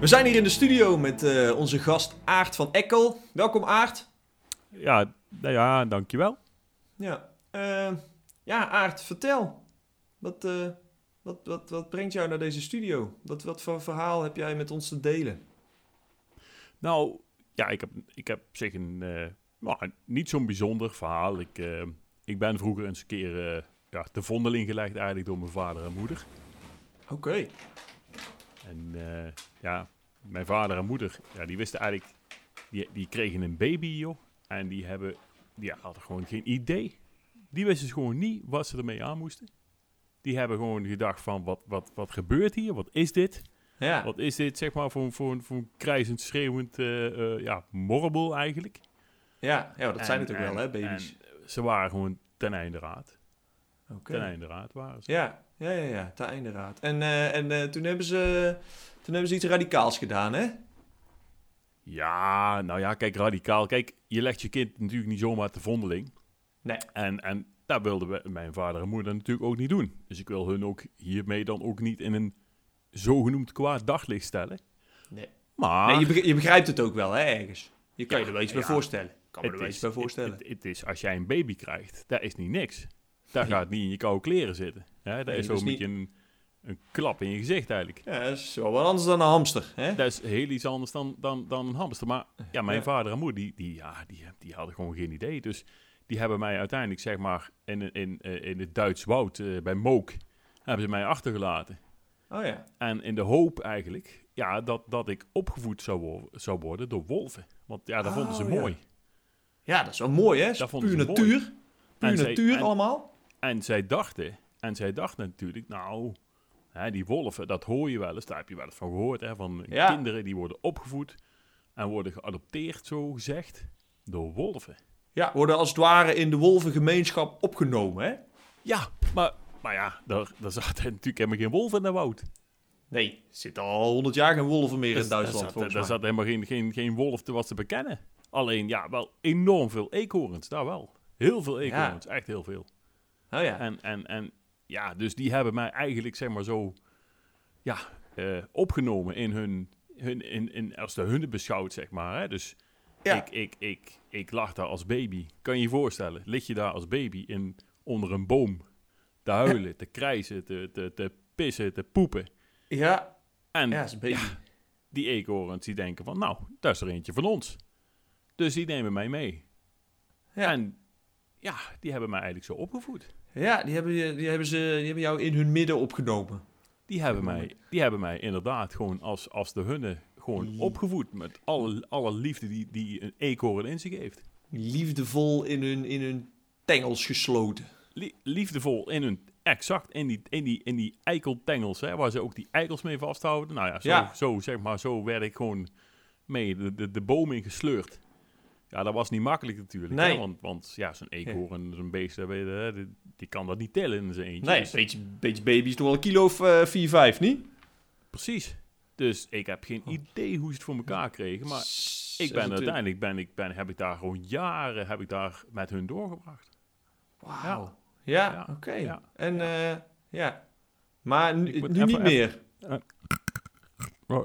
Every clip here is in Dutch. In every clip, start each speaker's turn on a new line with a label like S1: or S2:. S1: We zijn hier in de studio met eh, onze gast Aart van Ekkel. Welkom Aart.
S2: Ja, nou ja, dankjewel.
S1: Ja, eh, ja Aart, vertel. Wat, eh, wat, wat, wat brengt jou naar deze studio? Wat, wat voor verhaal heb jij met ons te delen?
S2: Nou, ja, ik heb, ik heb op zich een, eh, nou, niet zo'n bijzonder verhaal. Ik, eh, ik ben vroeger eens een keer eh, ja, de vondeling gelegd eigenlijk door mijn vader en moeder.
S1: Oké.
S2: En eh, ja, mijn vader en moeder, ja, die wisten eigenlijk, die, die kregen een baby, joh. En die, hebben, die hadden gewoon geen idee. Die wisten dus gewoon niet wat ze ermee aan moesten. Die hebben gewoon gedacht van, wat, wat, wat gebeurt hier? Wat is dit?
S1: Ja.
S2: Wat is dit, zeg maar, voor, een- voor, een- voor een krijzend, schreeuwend eh, eh, ja, morbel eigenlijk?
S1: Ja, ja, dat zijn
S2: En-
S1: het ook wel
S2: en-
S1: hè, baby's.
S2: en ze waren gewoon ten einde raad.
S1: Oké.
S2: Ten einde raad waren ze.
S1: Ja, ja, ja, ja, ten einde raad. En, eh, en eh, toen, hebben ze, toen hebben ze iets radicaals gedaan, hè?
S2: Ja, nou ja, kijk, radicaal. Kijk, je legt je kind natuurlijk niet zomaar te vondeling.
S1: Nee.
S2: En, en dat wilden we, mijn vader en moeder natuurlijk ook niet doen. Dus ik wil hun ook hiermee dan ook niet in een zogenoemd kwaad daglicht stellen.
S1: Nee.
S2: Maar...
S1: nee je, begrijpt, je begrijpt het ook wel, hè, ergens. Je kan je
S2: Ja,
S1: er wel iets bij
S2: ja.
S1: voorstellen. Kan me er
S2: Het
S1: wel
S2: is-
S1: iets bij voorstellen.
S2: Het, het is, als jij een baby krijgt, dat is niet niks. Dat gaat niet in je koude kleren zitten. Hè? Dat
S1: Nee,
S2: is
S1: dat
S2: zo'n
S1: is niet-
S2: beetje een, een klap in je gezicht eigenlijk.
S1: Ja, dat is wel wat anders dan een hamster, hè?
S2: Dat is heel iets anders dan, dan, dan een hamster. Maar ja, mijn
S1: Ja.
S2: vader en moeder, die, die, ja, die, die hadden gewoon geen idee. Dus die hebben mij uiteindelijk, zeg maar, in, in, eh, in het Duits woud eh, bij Mook, hebben ze mij achtergelaten.
S1: Oh ja.
S2: En in de hoop eigenlijk, ja, dat, dat ik opgevoed zou, wo- zou worden door wolven. Want ja, dat vonden ze
S1: Oh, ja.
S2: mooi.
S1: Ja, dat is wel mooi, hè?
S2: Dat vonden
S1: Puur
S2: ze mooi.
S1: natuur. Puur
S2: En zij-
S1: natuur
S2: en-
S1: allemaal.
S2: En zij dachten, en zij dachten natuurlijk, nou, hè, die wolven, dat hoor je wel eens, daar heb je wel eens van gehoord, hè, van
S1: Ja.
S2: kinderen die worden opgevoed en worden geadopteerd, zo gezegd, door wolven.
S1: Ja, worden als het ware in de wolvengemeenschap opgenomen, hè?
S2: Ja, maar, maar ja, daar, daar zaten natuurlijk helemaal geen wolven in de woud.
S1: Nee, er zitten al honderd jaar geen wolven meer in
S2: Daar
S1: Duitsland,
S2: zat-
S1: volgens
S2: Daar
S1: mij.
S2: zat helemaal geen, geen, geen wolf te wat te bekennen. Alleen, ja, wel enorm veel eekhoorns, daar wel. Heel veel eekhoorns, echt heel veel.
S1: Oh ja.
S2: En, en, en ja, dus die hebben mij eigenlijk, zeg maar zo, ja, eh, opgenomen in hun, hun in, in, als de hunde beschouwd, zeg maar. Hè? Dus
S1: Ja.
S2: ik, ik, ik, ik lag daar als baby. Kan je je voorstellen, lig je daar als baby in, onder een boom te huilen, te krijzen, te, te, te pissen, te poepen.
S1: ja.
S2: En
S1: Ja, is een baby.
S2: die eekhoorns die denken van, nou, daar is er eentje van ons. Dus die nemen mij mee.
S1: Ja.
S2: En ja, die hebben mij eigenlijk zo opgevoed.
S1: Ja, die hebben, je- die, hebben ze, die hebben jou in hun midden opgenomen.
S2: Die hebben mij, die hebben mij inderdaad gewoon als, als de hunne gewoon opgevoed. Met alle, alle liefde die, die een eekhoorn in zich heeft.
S1: Liefdevol in hun, in hun tengels gesloten.
S2: Lie- liefdevol in hun, exact, in die, in die, in die eikeltengels, hè, waar ze ook die eikels mee vasthouden. Nou ja, zo,
S1: Ja.
S2: zo zeg maar, zo werd ik gewoon mee de, de, de boom in gesleurd. Ja, dat was niet makkelijk natuurlijk. hè,
S1: Nee.
S2: want, want ja, zo'n eekhoorn, zo'n beest, dat weet je, hè, die, die kan dat niet tellen in zijn eentje.
S1: Nee,
S2: Dus-
S1: een beetje, beetje baby is toch wel een kilo of eh, vier, vijf, niet?
S2: precies. Dus ik heb
S1: Oh.
S2: geen idee hoe ze het voor elkaar kregen, maar Ik ben
S1: 26.
S2: uiteindelijk ben ik ben, heb ik daar gewoon jaren heb ik daar met hun doorgebracht.
S1: Wauw. Ja,
S2: Ja.
S1: oké.
S2: Ja.
S1: En eh, ja. Maar nu,
S2: Ik moet
S1: nu niet
S2: even-
S1: meer.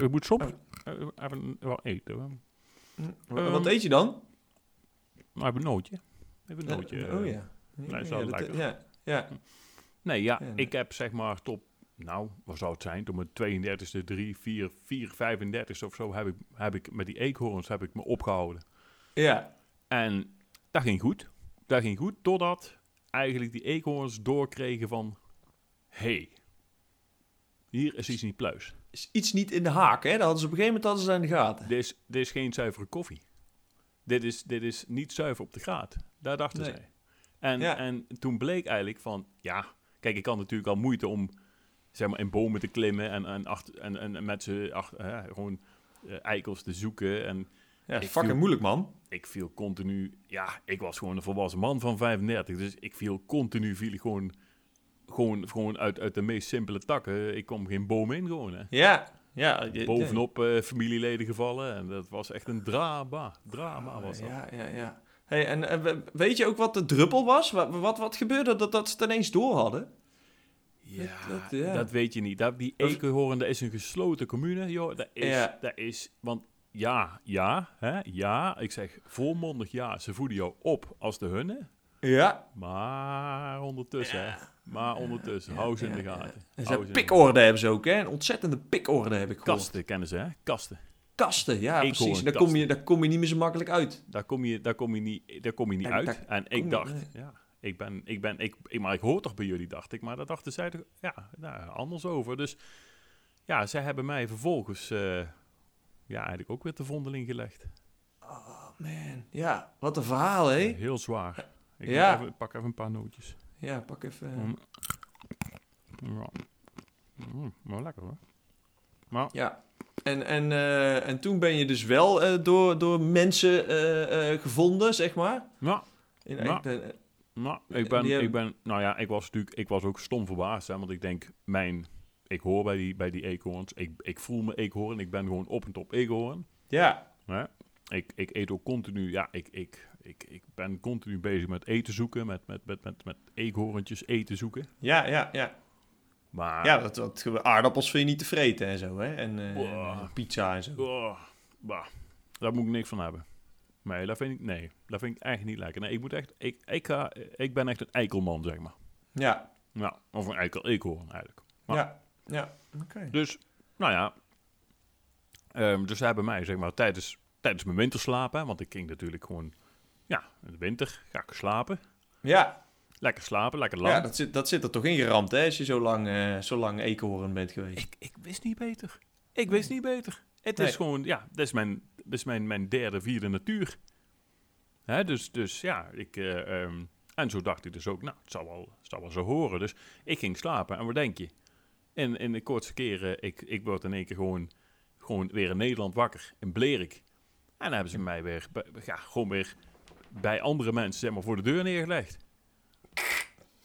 S2: ik moet soms even eh, wel eh, eten. hoor.
S1: Wa-
S2: Ehm,
S1: Wat eet je dan?
S2: Maar even een nootje. Even een
S1: Eh,
S2: nootje.
S1: oh
S2: eh.
S1: ja.
S2: dat is wel
S1: ja, dat-
S2: lekker.
S1: Ja, ja.
S2: Nee, ja,
S1: Ja, nee.
S2: ik heb zeg maar tot, nou, wat zou het zijn? Tot mijn 32e, 3, 4, 4, 35 of zo heb ik, heb ik met die eekhoorns heb ik me opgehouden.
S1: ja.
S2: En dat ging goed. Dat ging goed totdat eigenlijk die eekhoorns doorkregen van, hey, hier is iets niet pluis.
S1: Is iets niet in de haak, hè? Dat hadden ze op een gegeven moment hadden ze in de gaten.
S2: Dit is, dit is geen zuivere koffie. Dit is, dit is niet zuiver op de graad. Daar dachten
S1: Nee.
S2: zij. En,
S1: Ja.
S2: en toen bleek eigenlijk van, ja, kijk, ik had natuurlijk al moeite om zeg maar, in bomen te klimmen en, en, achter, en, en en met ze achter, hè, gewoon eh, eikels te zoeken. En
S1: Ja,
S2: Ik
S1: fucking
S2: viel-
S1: moeilijk, man.
S2: ik viel continu, ja, ik was gewoon een volwassen man van 35, dus ik viel continu, viel ik gewoon, gewoon, gewoon uit, uit de meest simpele takken. Ik kwam geen boom in gewoon, hè.
S1: Ja. ja je-
S2: Bovenop eh, familieleden gevallen en dat was echt een drama. Drama was dat.
S1: Ja, ja, ja. Hey, en eh, we- weet je ook wat de druppel was? Wat, wat, wat gebeurde dat, dat ze het ineens door hadden?
S2: Ja,
S1: Dat-
S2: dat,
S1: dat- ja.
S2: weet je niet. Dat, die
S1: Dat is-
S2: Eekhoorn, dat is een gesloten commune, joh. Dat is,
S1: Ja.
S2: dat is want ja, ja, hè, ja. Ik zeg volmondig ja, ze voeden jou op als de hunne.
S1: Ja.
S2: Maar ondertussen, hè. Maar ondertussen, hou ze in de gaten.
S1: En ze
S2: Hou
S1: hebben
S2: Oh, ze in de
S1: pikorde hebben ze ook, hè? Een ontzettende pikorde heb ik
S2: gaten.
S1: gehoord.
S2: Kasten kennen ze, hè? Kasten.
S1: Kasten, ja,
S2: Eekhoorn,
S1: precies. Daar
S2: kasten.
S1: kom, je, daar kom je niet meer zo makkelijk uit.
S2: Daar kom je, daar kom je niet, daar kom je niet
S1: Daar-
S2: uit.
S1: daar
S2: en
S1: je-
S2: ik dacht,
S1: nee.
S2: ja, ik ben, ik ben, ik, ik- maar ik hoor toch bij jullie, dacht ik. Maar dat dachten zij toch, ja, nou, anders over. Dus ja, zij hebben mij vervolgens, eh, ja, eigenlijk ook weer te vondeling gelegd. Eh,
S1: Man, ja, wat een verhaal, hè?
S2: Ja, heel zwaar. Ik
S1: Ja.
S2: pak even- pak even een paar nootjes.
S1: Ja, pak even. eh,
S2: Mm. Ja. Mm, wel lekker hoor.
S1: Ja. En, en, eh, en toen ben je dus wel eh, door, door mensen eh, eh, gevonden, zeg maar.
S2: Nou,
S1: In,
S2: Ja.
S1: ik ben- eh,
S2: nou,
S1: En
S2: ik ben,
S1: die hebben-
S2: ik ben, nou ja, ik was natuurlijk, ik was ook stom verbaasd, hè, want ik denk, mijn, ik hoor bij die, bij die eekhoorns, ik, ik voel me eekhoorn, ik ben gewoon op en top eekhoorn.
S1: ja.
S2: Hè? Ik, ik eet ook continu, ja, ik, ik, ik, ik ben continu bezig met eten zoeken, met, met, met, met, met eekhoorntjes eten zoeken.
S1: Ja, ja, ja.
S2: Maar,
S1: Ja, dat, dat, aardappels vind je niet te vreten en zo, hè? En eh,
S2: Wow.
S1: en pizza en zo.
S2: oh, bah, daar moet ik niks van hebben. Nee, dat vind ik, nee, dat vind ik echt niet lekker. Nee, ik moet echt, ik, ik, ga, ik ben echt een eikelman, zeg maar.
S1: Ja,
S2: Ja, of een eikel eekhoorn eigenlijk. Maar-
S1: ja, ja. Oké.
S2: Dus, nou ja, ehm, dus ze hebben mij, zeg maar, tijdens, tijdens mijn winterslaap, hè, want ik ging natuurlijk gewoon, ja, in de winter ga ik slapen.
S1: Ja,
S2: Lekker slapen, lekker lang.
S1: ja dat, zit, dat zit er toch ingeramd, hè? Als je zo lang, eh zo lang eekhoorn bent geweest.
S2: Ik, ik wist niet beter. Ik wist niet beter. Het
S1: Nee.
S2: is gewoon, ja, dat is mijn, dat is mijn, mijn derde, vierde natuur. Hè, dus, dus ja, ik, eh, ehm, en zo dacht ik dus ook, nou, het zal wel, het zal wel zo horen. Dus ik ging slapen en wat denk je? En in de kortste keren, ik, ik word in één keer gewoon, gewoon weer in Nederland wakker, in Blerik. En dan hebben ze mij weer, bij- ja, gewoon weer bij andere mensen, zeg maar, voor de deur neergelegd.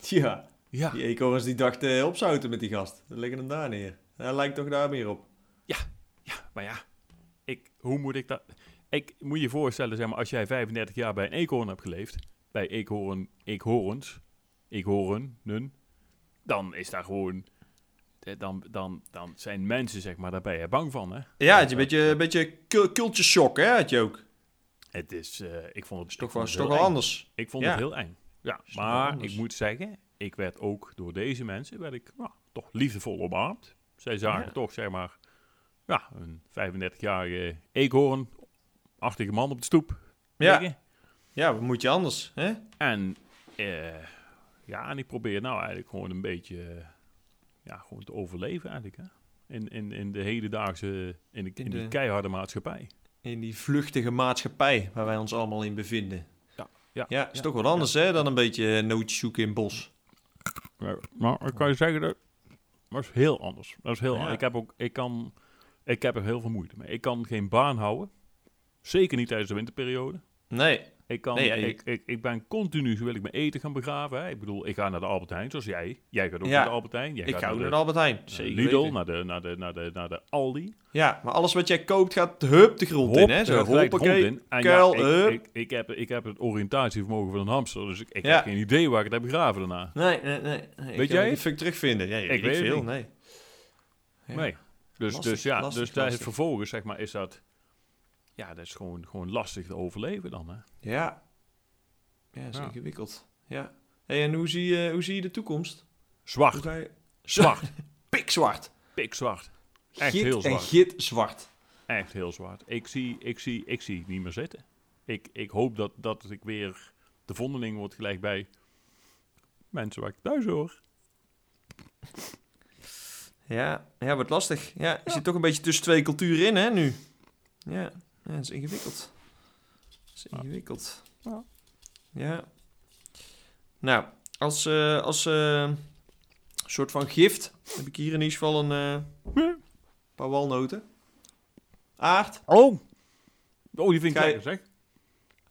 S1: Ja,
S2: Ja,
S1: die eekhoorns die dachten eh, opzouten met die gast. Dan leggen hem daar neer. Hij lijkt toch daar meer op.
S2: Maar ja, ik, hoe moet ik dat... Ik moet je voorstellen, zeg maar, als jij 35 jaar bij een eekhoorn hebt geleefd... bij eekhoorn, eekhoorns, eekhoornen... dan is daar gewoon... eh, Dan, dan, dan zijn mensen, zeg maar, daar ben je bang van, hè?
S1: Ja, het is een beetje, een beetje kul- culture shock, hè? Had je ook.
S2: Het is... eh, ik vond het
S1: is toch
S2: ik vond
S1: wel,
S2: het
S1: is
S2: heel
S1: toch wel
S2: eng.
S1: anders.
S2: Ik vond
S1: Ja.
S2: het heel eng. Ja,
S1: Is toch wel
S2: maar
S1: anders.
S2: ik moet zeggen... ik werd ook door deze mensen... werd ik nou, toch liefdevol omarmd. Zij zagen
S1: Ja.
S2: toch, zeg maar... ja, een 35-jarige eekhoorn... achtige man op de stoep
S1: Ja.
S2: liggen.
S1: Ja, wat moet je anders, hè?
S2: En eh, ja, en ik probeer nou eigenlijk gewoon een beetje eh, ja, gewoon te overleven eigenlijk. Hè? In, in, in de hedendaagse, in, de,
S1: In
S2: in, die
S1: de-
S2: keiharde maatschappij.
S1: In die vluchtige maatschappij waar wij ons allemaal in bevinden.
S2: Ja, ja,
S1: ja is
S2: ja,
S1: toch wat anders, hè, dan een beetje eh, nootjes zoeken in het bos.
S2: Maar ik kan je zeggen, dat was heel anders. Dat is heel
S1: Ja.
S2: anders. Ik heb, ook, ik, kan, ik heb er heel veel moeite mee. Ik kan geen baan houden. Zeker niet tijdens de winterperiode.
S1: Nee,
S2: Ik, kan,
S1: Nee, ja, je-
S2: ik, ik, ik ben continu, wil ik mijn eten gaan begraven. Hè? Ik bedoel, ik ga naar de Albert Heijn, zoals jij. Jij gaat ook
S1: Ja.
S2: naar de Albert Heijn. Jij
S1: ik
S2: gaat
S1: ga ook
S2: naar
S1: naar
S2: de
S1: de Albert Heijn.
S2: Zeker
S1: Zeker
S2: Eh, Lidl,
S1: weten.
S2: naar de, naar, de, naar, de, naar de Aldi.
S1: Ja, maar alles wat jij koopt gaat hup de grond in, hè?
S2: Hop,
S1: Zo,
S2: er gelijk
S1: hoppakee,
S2: rond in. En
S1: kuil,
S2: ja,
S1: hup.
S2: ik, ik, ik, heb, ik heb het oriëntatievermogen van een hamster, dus ik, ik
S1: Ja.
S2: heb geen idee waar ik het heb begraven daarna.
S1: Nee, nee, nee. nee.
S2: Weet
S1: ik
S2: jij
S1: Ik
S2: het?
S1: fuck terugvinden. Ja, ik,
S2: weet
S1: weet
S2: het
S1: veel,
S2: niet.
S1: nee. Ja.
S2: Nee. Dus,
S1: Lastig,
S2: dus ja,
S1: lastig,
S2: dus daar
S1: lastig.
S2: het vervolgens, zeg maar, is dat... Ja, dat is gewoon, gewoon lastig te overleven dan, hè.
S1: Ja. Ja, is
S2: Ja.
S1: ingewikkeld. Ja. Hey, en hoe zie, je, hoe zie je de toekomst? Hoe
S2: Zwart,
S1: ga je...
S2: zwart,
S1: Pikzwart.
S2: pikzwart. Echt
S1: Git
S2: heel
S1: en
S2: zwart.
S1: git zwart.
S2: Echt heel zwart. Ik zie, ik zie, ik zie het niet meer zitten. Ik, ik hoop dat, dat ik weer de vondeling word gelijk bij mensen waar ik thuis hoor.
S1: Ja, ja wordt lastig. Ja, je zit toch een beetje tussen twee culturen in, hè, nu? Ja, ja dat is ingewikkeld. Dat is
S2: Ja.
S1: ingewikkeld.
S2: Ja.
S1: Ja. Nou, als, eh, als eh, soort van gift heb ik hier in ieder geval een eh, paar walnoten. Ah, Aard.
S2: Oh! Oh, die vind ik
S1: Kijk.
S2: lekker, zeg.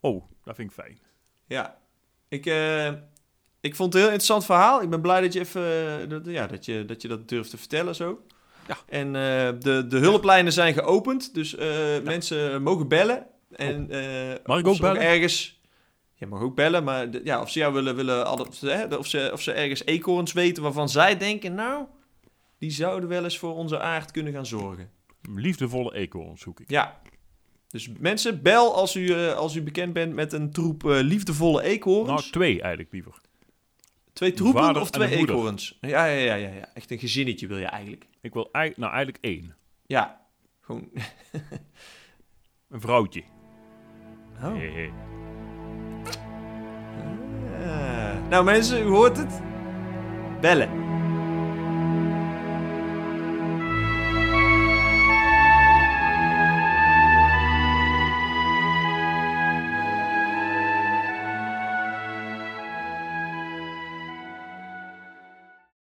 S2: Oh, dat vind ik fijn.
S1: Ja. Ik, eh, ik vond het een heel interessant verhaal. Ik ben blij dat je, even, eh, dat, ja, dat, je, dat, je dat durft te vertellen zo.
S2: Ja.
S1: En eh, de, de hulplijnen zijn geopend, dus eh, mensen mogen bellen. En, eh,
S2: Mag ik
S1: of
S2: ook
S1: ze nog
S2: bellen?
S1: Ergens. Je mag ook bellen, maar de- ja, of ze jou willen, willen adopt- hè, of, ze, of ze ergens eekhoorns weten waarvan zij denken, nou, die zouden wel eens voor onze aard kunnen gaan zorgen.
S2: Liefdevolle eekhoorns zoek ik.
S1: Ja. Dus mensen, bel als u, eh, als u bekend bent met een troep eh, liefdevolle eekhoorns.
S2: Nou, twee eigenlijk liever.
S1: twee troepen
S2: vader
S1: of
S2: en een
S1: twee
S2: moeder.
S1: eekhoorns? Ja, ja, ja, ja, ja. Echt een gezinnetje wil je eigenlijk.
S2: Ik wil eigenlijk, nou, eigenlijk één.
S1: Ja. Gewoon.
S2: Een vrouwtje.
S1: Oh.
S2: Hé, hé.
S1: Eh, nou mensen, u hoort het. Bellen.